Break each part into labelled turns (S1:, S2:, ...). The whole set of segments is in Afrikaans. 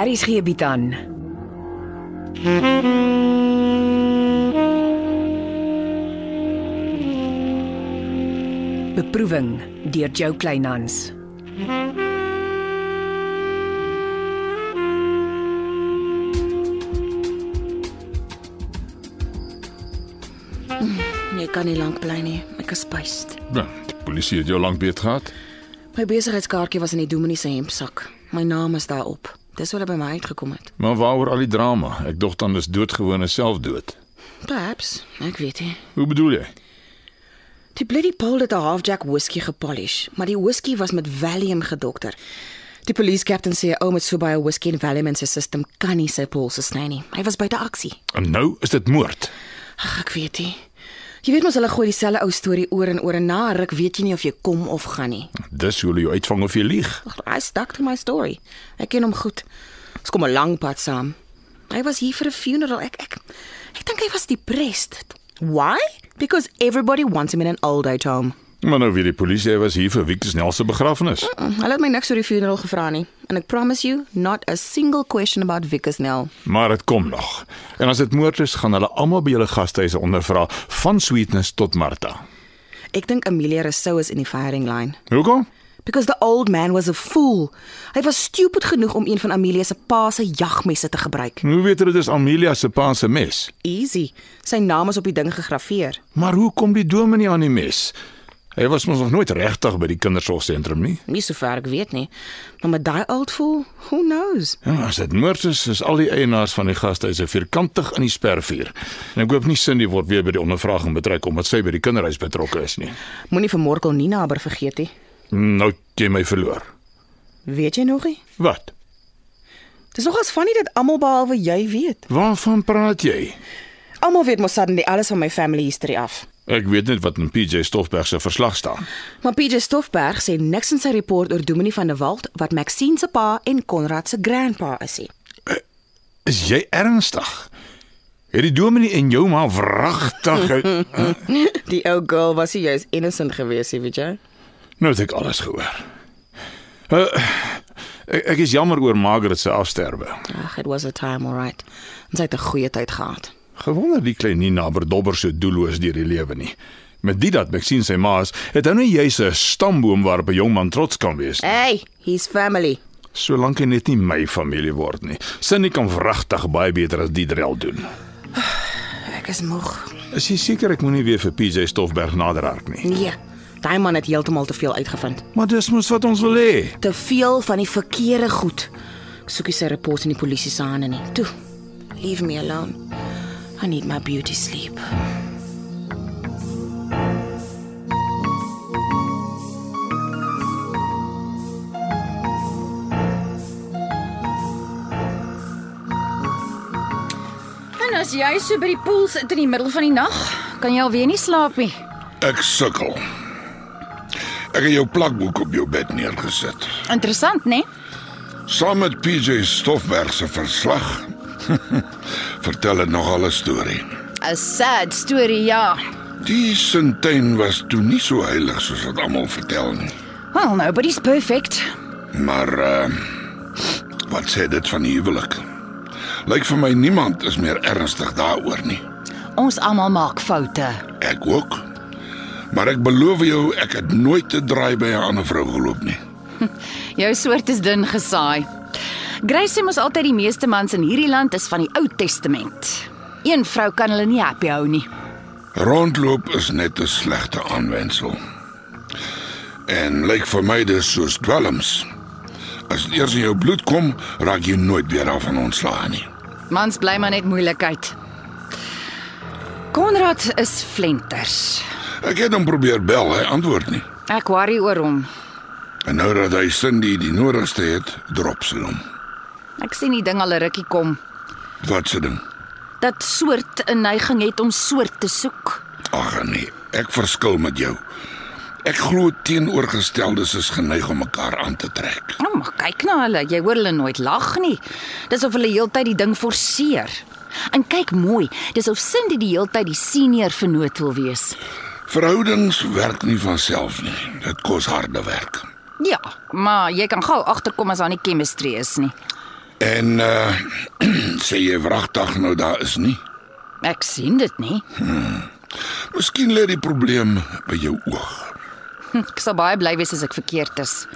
S1: Aries gee bied aan. Beproeving deur Jo Kleinhans.
S2: Jy kan nie lank bly nie. Ek is spyst.
S3: Nou, die polisie het jou lank beet gehad.
S2: My besigheidskaartjie was in die dominee se hempsak. My naam is daarop. Dis hoe hulle by my uitgekom het.
S3: Maar waaroor al die drama? Ek dog dan is doodgewone selfdood.
S2: Perhaps, ek weet nie.
S3: Hoe bedoel jy?
S2: Die bloody Paul het 'n half-jack whisky gepolish, maar die whisky was met Valium gedokter. Die police captain sê 'n ou met so baie whisky en Valium in sy system kan nie sy polse sny nie. Hy was buite aksie.
S3: En nou is dit moord.
S2: Ag, ek weet nie. Jy weet mos hulle gooi dieselfde ou storie oor en oor en na 'n ruk weet jy nie of jy kom of gaan nie.
S3: Dis hoe hulle jou uitvang of jy lieg.
S2: I stuck to my story. Ek ken hom goed. Ons kom 'n lang pad saam. Hy was hier vir 'n funeral. Ek ek ek dink hy was depressed. Why? Because everybody wants him in an old age home.
S3: Maar nou weet die polisie hy was hier vir Wieke Snell se begrafnis.
S2: Mm, Hulle het my niks oor die funeral gevra nie. And I promise you, not a single question about Vickers Nell.
S3: Maar dit kom nog. En as dit moord is, gaan hulle almal by julle gasthuise ondervra, van Sweetness tot Martha.
S2: Ek dink Amelia Rousseau is in die firing line.
S3: Hoekom?
S2: Because the old man was a fool. Hy was stupid genoeg om een van Amelia se pa se jagmesse te gebruik.
S3: Hoe weet hulle dis Amelia se pa se mes?
S2: Easy. Sy naam is op die ding gegraveer.
S3: Maar hoe kom die dominee aan die mes? Hy was mos nog nooit regtig by die kindersorgsentrum nie.
S2: Nie sover ek weet nie. Nou, Maar met daai old fool, who knows?
S3: Ja, as dit moord is, is al die eienaars van die gasthuise vierkantig in die spervuur. En ek hoop nie Cindy word weer by die ondervraging betrek omdat sy by die kinderhuis betrokke is nie.
S2: Moenie vir Morkel Nina aber vergeet nie.
S3: Nou het jy my verloor.
S2: Weet jy nog nie?
S3: Wat?
S2: Dis nogals van nie dat almal behalwe jy weet.
S3: Waarvan praat jy?
S2: Almal weet mos suddenly alles van my family history af.
S3: Ek weet net wat in PJ Stoffberg se verslag staan.
S2: Maar PJ Stoffberg sê niks in sy report oor Dominee van der Walt wat Maxine se pa en Konrad se grandpa is nie.
S3: Is jy ernstig? Het die dominee en jou ma wragtig
S2: Die ou girl was hy jy's innocent gewees, jy weet jy.
S3: Nou het ek alles gehoor. Uh, ek, ek is jammer oor Margaret se afsterwe.
S2: Ag, it was a time all right. Ons het 'n goeie tyd gehad.
S3: Gewonder die klein Nina verdobber so doelloos deur die lewe nie. Met dit dat ek sien sy ma is, het hy nou juis 'n stamboom waarop 'n jong man trots kan wees.
S2: Hey, he's family.
S3: Solank hy net nie my familie word nie. Cindy kan wragtig baie beter as die drel doen.
S2: Ek is moeg.
S3: Is jy seker ek moenie weer vir PJ Stoffberg naderhard nie?
S2: Nee, daai man het heeltemal te veel uitgevind.
S3: Maar dis mos wat ons wil hê.
S2: te veel van die verkeerde goed. Ek soek nie sy rapport in die polisie se hande nie. Toe. Leave me alone. I need my beauty sleep.
S4: En as jy so by die pool sit in die middel van die nag, kan jy alweer nie slaap nie.
S5: Ek sukkel. Ek het jou plakboek op jou bed neergesit,
S4: Interessant, né?
S5: saam met PJ Stoffberg se verslag. Vertel dit nog al 'n storie.
S4: 'n Sad storie, ja.
S5: Die Sintyn was toe nie so heilig soos wat almal vertel nie.
S4: Well, nobody's perfect.
S5: Maar uh, wat sê dit van die huwelik? Lyk vir my niemand is meer ernstig daaroor nie.
S4: Ons almal maak foute.
S5: Ek ook. Maar ek beloof jou, ek het nooit te draai by 'n ander vrou geloop nie.
S4: Jou soort is dun gesaai. Grace sê mos altyd die meeste mans in hierdie land is van die Ou Testament. Een vrou kan hulle nie happy hou nie.
S5: Rondloop is net 'n slegte aanwensel. En lyk vir my dis soos dwelms. As dit eers in jou bloed kom, raak jy nooit weer daarvan ontslae nie.
S4: Mans bly maar net moeilikheid. Konrad is flenters.
S5: Ek het hom probeer bel, hy antwoord nie.
S4: Ek worry oor hom.
S5: En nou dat hy Cindy die nodigste het, drop sy hom.
S4: Ek sien die ding al 'n rukkie kom.
S5: Wat se ding?
S4: Dat soort 'n neiging het om soort te soek.
S5: Ag nee, ek verskil met jou. Ek glo teenoorgesteldes is geneig om mekaar aan te trek.
S4: Nou maar kyk na hulle, jy hoor hulle nooit lag nie. Dis of hulle heeltyd die ding forceer. En kyk mooi, dis of Cindy die heeltyd die senior vernoot wil wees.
S5: Verhoudings werk nie van self nie. Dit kos harde werk.
S4: Ja, maar jy kan gou agterkom as daar nie chemistry is nie.
S5: En uh sê jy wragtig nou daar is nie.
S4: Ek sien dit nie.
S5: Miskien lê die probleem by jou oog.
S4: Ek sal baie bly wees as ek verkeerd is.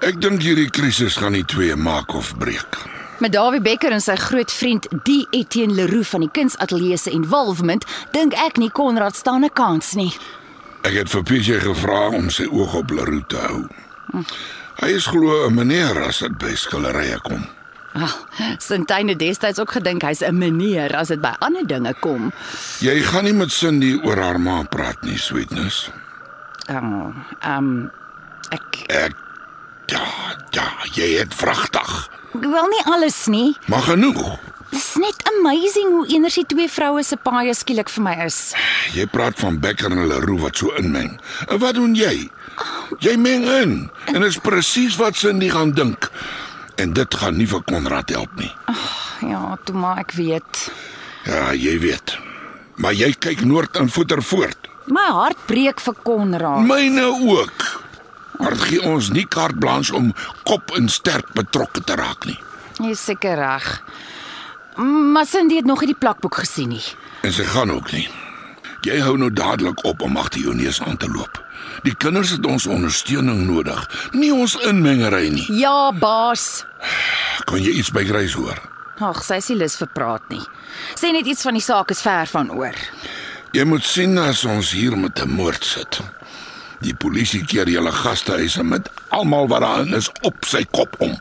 S5: Ek dink hierdie krisis gaan die twee maak of breek.
S4: Met Dawie Becker en sy groot vriend Die Etienne Leroux van die Kunsateljee se involvement, dink ek nie Konrad staan 'n kans nie.
S5: Ek het vir PJ gevra om sy oog op Leroux te hou. Hy is glo 'n meneer as dit by skillerye kom.
S4: Wel, Sintine het destyds ook gedink hy's 'n meneer as dit by ander dinge kom.
S5: Jy gaan nie met Cindy oor haar ma praat nie, sweetness.
S4: Ehm, um, ek
S5: Ek ja, ja, jy het vragtig.
S4: ek wil nie alles nie.
S5: Maar genoeg.
S4: Dis net amazing hoe eners die twee vroue se paaie skielik vir my is.
S5: Jy praat van Becker en Leroux wat so inmeng. En wat doen jy? Jy meng in en is presies wat Cindy gaan dink. En dit gaan nie vir Konrad help nie.
S4: Ja, toe maar ek weet.
S5: Ja, jy weet. Maar jy kyk noord en voeter voort.
S4: My hart breek vir Konrad.
S5: Myne ook. Maar dit gee ons nie kaart blans om kop en sterk betrokke te raak nie.
S4: Jy's seker reg. Maar Cindy het nog nie die plakboek gesien nie.
S5: En sy gaan ook nie. Jy hou nou dadelik op om agter jou neus aan te loop. Die kinders het ons ondersteuning nodig, nie ons inmengery nie.
S4: Ja, baas.
S5: Kan jy iets by Grace hoor?
S4: Ag, sy is nie lus vir praat nie. Sê net iets van die saak is ver van oor.
S5: Jy moet sien as ons hier met 'n moord sit. Die polisie keer julle gastehuise met almal wat daarin is op sy kop om.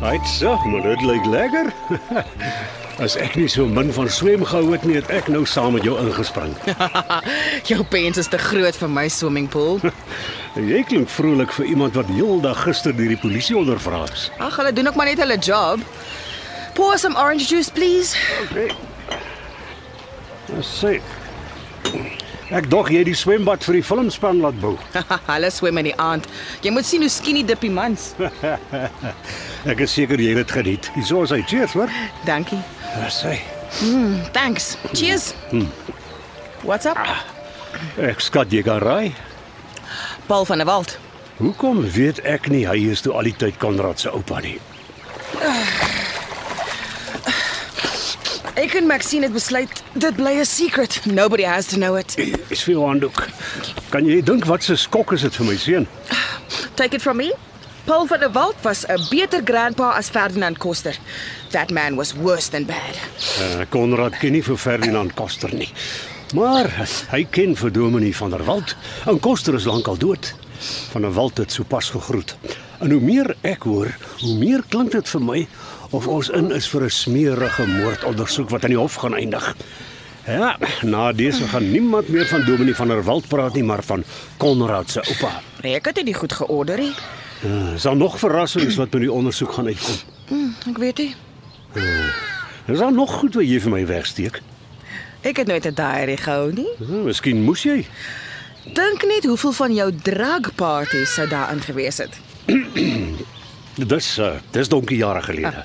S6: Hy't so, maar dit lyk lekker. As ek nie so min van swem gehou het nie, het ek nou saam met jou ingespring.
S2: Jou pens is te groot vir my swimmingpool.
S6: Jy klink vrolik vir iemand wat heeldag gister deur die polisie ondervra is.
S2: Ag, hulle doen ook maar net hulle job. Pour some orange juice, please.
S6: Okay. Ons sê Ek dog jy het die swembad vir die filmspan laat bou.
S2: hulle swem in die aand. Jy moet sien hoe skinny dippie mans.
S6: Ek is seker jy het dit geniet. Hierso is hy. Cheers, hoor.
S2: Dankie.
S6: Ons sê
S2: Thanks. Cheers. What's up?
S6: ek skat jy gaan raai.
S2: Paul van der Walt.
S6: Hoekom weet ek nie hy is toe al die tyd Konrad se oupa nie.
S2: Ek en Maxine het besluit dit bly 'n secret. Nobody has to know it.
S6: Is vir jou handdoek. Kan jy dink wat se skok is dit vir my seun?
S2: Take it from me. Paul van der Walt was 'n beter grandpa as Ferdinand Koster. That man was worse than bad.
S6: Eh, Konrad ken nie vir Ferdinand Koster nie. Maar hy ken vir Dominee van der Walt. En Koster is lankal dood. Van der Walt het sopas gegroet. En hoe meer ek hoor, hoe meer klink dit vir my of ons in is vir 'n smeerige moordondersoek wat in die hof gaan eindig. Ja, na dese gaan niemand meer van Dominee van der Walt praat nie, maar van Konrad se oupa.
S2: Nee, Ek het dit nie goed georder nie.
S6: Eh, Sal nog verrassings wat met die ondersoek gaan uitkom.
S2: Ek weet nie.
S6: Is daar nog goed wat jy vir my wegsteek?
S2: Ek het nooit 'n diary gehou nie.
S6: Hm, Miskien moes jy.
S2: Dink net hoeveel van jou drugparties sou daarin gewees het.
S6: Dis uh, dis donkie jare gelede.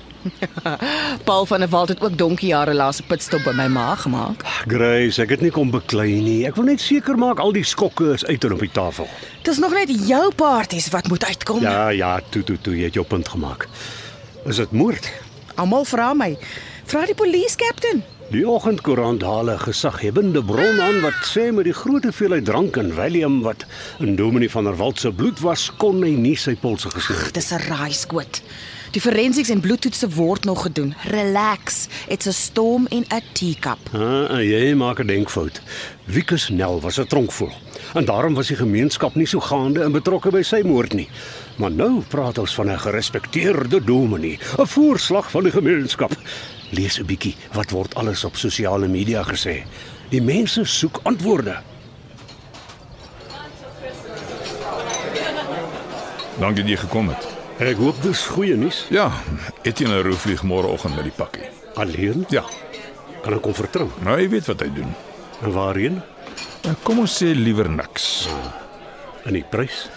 S2: Paul van der Walt het ook donkie jare laas 'n pitstop by my ma gemaak.
S6: Grace, ek het nie kom beklei nie. Ek wil net seker maak al die skokke is uit en op die tafel.
S2: Dis nog net jou parties wat moet uitkom.
S6: Ja, ja, toe toe toe, jy het jou punt gemaak. Is dit moord?
S2: Almal vra my. Vra die polisie kaptein.
S6: Die oggendkoerant haal 'n gesaghebende bron aan wat sê met die groot hoeveelheid drank en Valium wat in Dominee van der Walt se bloed was, kon hy nie sy polse gesnoer het.
S2: Dis 'n raaiskoot. Die forensics en bloedtoetse word nog gedoen. Relax. It's a storm in a teacup.
S6: Ah, ah, jy maak 'n denkfout. Wikus Nel was 'n tronkvoël en daarom was die gemeenskap nie so gaande en betrokke by sy moord nie. Maar nou praat ons van 'n gerespekteerde dominee, 'n voorslag van die gemeenskap. Lees 'n bietjie wat word alles op sosiale media gesê. Die mense soek antwoorde.
S3: Dankie dat jy gekom het.
S6: Ek hoop dis goeie nuus.
S3: Ja, Etienne Leroux vlieg môreoggend met die pakkie.
S6: Alleen
S3: Ja,
S6: kan ek hom vertrou.
S3: nou jy weet wat hy doen.
S6: En waarheen?
S3: Nou, Kom ons sê liewer niks.
S6: In die prys?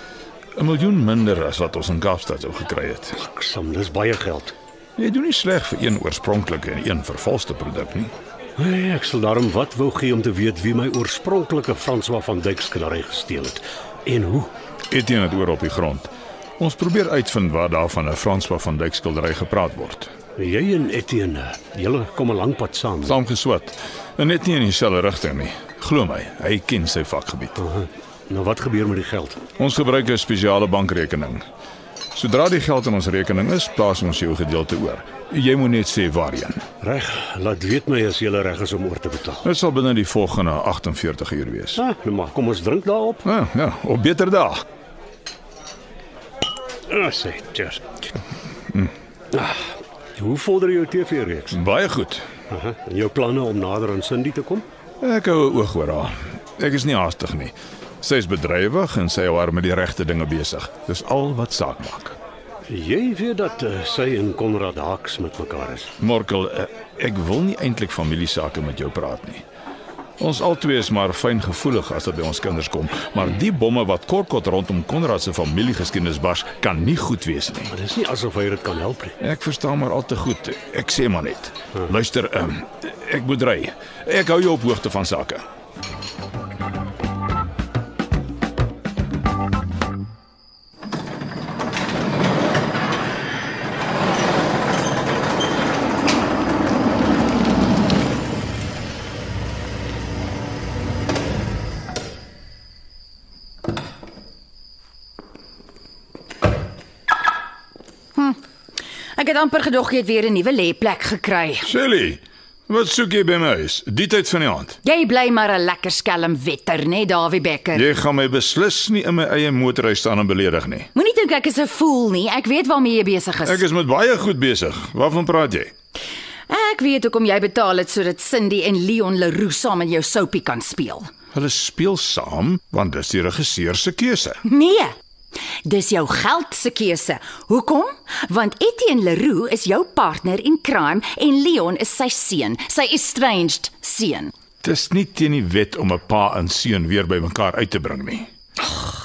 S3: 'n Miljoen minder as wat ons in Kaapstad sou gekry het.
S6: Ek sam, dis baie geld.
S3: Jy doen nie sleg vir een oorspronklike en een vervalste produk nie.
S6: Nee, ek sal daarom wat wou gee om te weet wie my oorspronklike François van Dyk skildery gesteel het en hoe.
S3: Etienne het oor op die grond. Ons probeer uitvind waar daarvan 'n François van Dyk skildery gepraat word.
S6: Jy en Etienne, eh, julle kom 'n lang pad saam.
S3: Saam geswat. En net nie in dieselfde rigting nie. Glo my, hy ken sy vakgebied.
S6: Nou wat gebeur met die geld?
S3: Ons gebruik 'n spesiale bankrekening. Sodra die geld in ons rekening is, plaas ons jou gedeelte oor. Jy moet net sê waarheen.
S6: Reg, laat weet my as jy reg is om oor te betaal.
S3: Dit sal binne die volgende 48 uur wees.
S6: Ah, nou maar, kom ons drink daarop.
S3: Ja, ja, op beter dae.
S6: Ah, sê, cheers. Ah, hoe vorder jou TV-reeks?
S3: Baie goed.
S6: Aha, en jou planne om nader aan Cindy te kom?
S3: Ek hou 'n oog oor haar. Ek is nie haastig nie. Sy is bedrywig en sy hou haar met die regte dinge besig. Dis al wat saak maak.
S6: Jy weet dat uh, sy en Konrad Haaks met mekaar is.
S3: Morkel, eh, ek wil nie eintlik familiesake met jou praat nie. Ons albei is maar fyngevoelig as dit by ons kinders kom, maar die bomme wat kortkort rondom Konrad se familiegeskiedenis bars, kan nie goed wees nie.
S6: Maar dis nie asof hy dit kan help nie.
S3: Ek verstaan maar al te goed. Ek sê maar net. Luister, um, ek moet ry. Ek hou jou op hoogte van sake.
S4: Ek het amper gedog jy het weer 'n nuwe lêplek gekry.
S3: Shelly, wat soek jy by my huis? Die tyd van die aand.
S4: Jy bly maar 'n lekker skelm wetter, né, nee, Dawie Becker?
S3: Jy gaan my beslis nie in my eie motorry staan en beledig nie.
S4: Moenie dink ek is 'n fool nie. Ek weet waarmee jy besig is.
S3: Ek is met baie goed besig. Waarvan praat jy?
S4: Ek weet hoekom jy betaal het sodat Cindy en Leon Leroux saam in jou soapie kan speel.
S3: Hulle speel saam want dis die regisseur se keuse.
S4: Nee. Dis jou geld se keuse. Hoekom? Want Etienne Leroux is jou partner in crime en Leon is sy seun, sy estranged seun.
S3: Dis nie teen die wet om 'n pa en seun weer bymekaar uit te bring nie.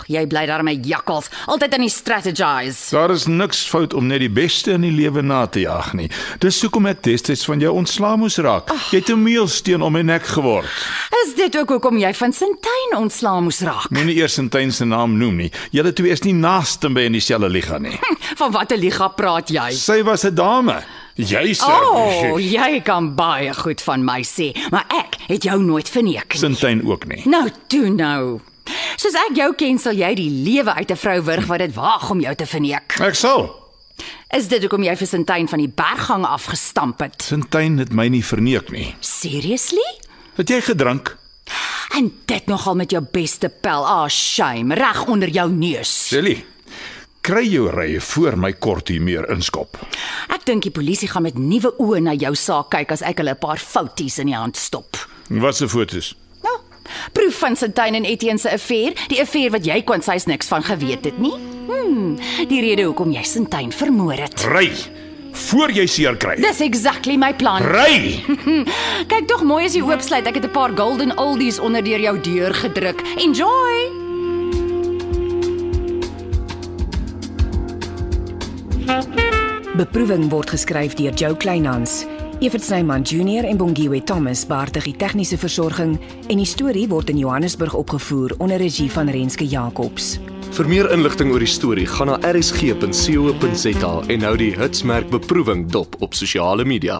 S4: Jy bly daarmee jakkals, altyd aan die strategize.
S3: Daar is niks fout om net die beste in die lewe na te jag nie. Dis hoekom ek destyds van jou ontslaa moes raak. Jy het 'n meelsteen om my nek geword.
S4: Is dit ook hoekom jy van Sintyn ontslaa moes raak?
S3: Moenie eers Sintyn se naam noem nie. Julle twee is nie naaste by in dieselfde liga nie.
S4: Van watter liga praat jy?
S3: Sy was 'n dame. Jy sê
S4: O, oh, jy kan baie goed van my sê, maar ek het jou nooit verneek nie.
S3: Sintyn ook nie.
S4: Nou toe nou. Soos ek jou ken, sal jy die lewe uit 'n vrou wurg wat dit waag om jou te verneek.
S3: Ek sal.
S4: Is dit hoekom jy vir Sintyn van die berggang afgestamp het?
S3: Sintyn het my nie verneek nie.
S4: Seriously?
S3: Het jy gedrink?
S4: En dit nogal met jou beste pel. Ah, shame, reg onder jou neus.
S3: Silly. Kry jou rye voor my kort hier meer inskop.
S4: Ek dink die polisie gaan met nuwe oë na jou saak kyk as ek hulle 'n paar fouties in die hand stop.
S3: Wat se fotos?
S4: Nou, proef van Sintyn en Etienne se affair, die affair wat jy kon sies niks van geweet het nie. Hm, die rede hoekom jy Sintyn vermoor het.
S3: Ry voor jy seer kry.
S4: Dis exactly my plan.
S3: Ry.
S4: Kyk tog mooi as jy oopsluit. Ek het 'n paar golden oldies onder deur jou deur gedruk. Enjoy.
S1: Beproeving word geskryf deur Jo Kleinhans. Evert Snyman Junior en Bongwe Thomas baartig die tegniese versorging en die storie word in Johannesburg opgevoer onder regie van Renske Jacobs.
S7: Vir meer inligting oor die storie, gaan na rsg.co.za en hou die hitsmerk beproewing dop op sosiale media.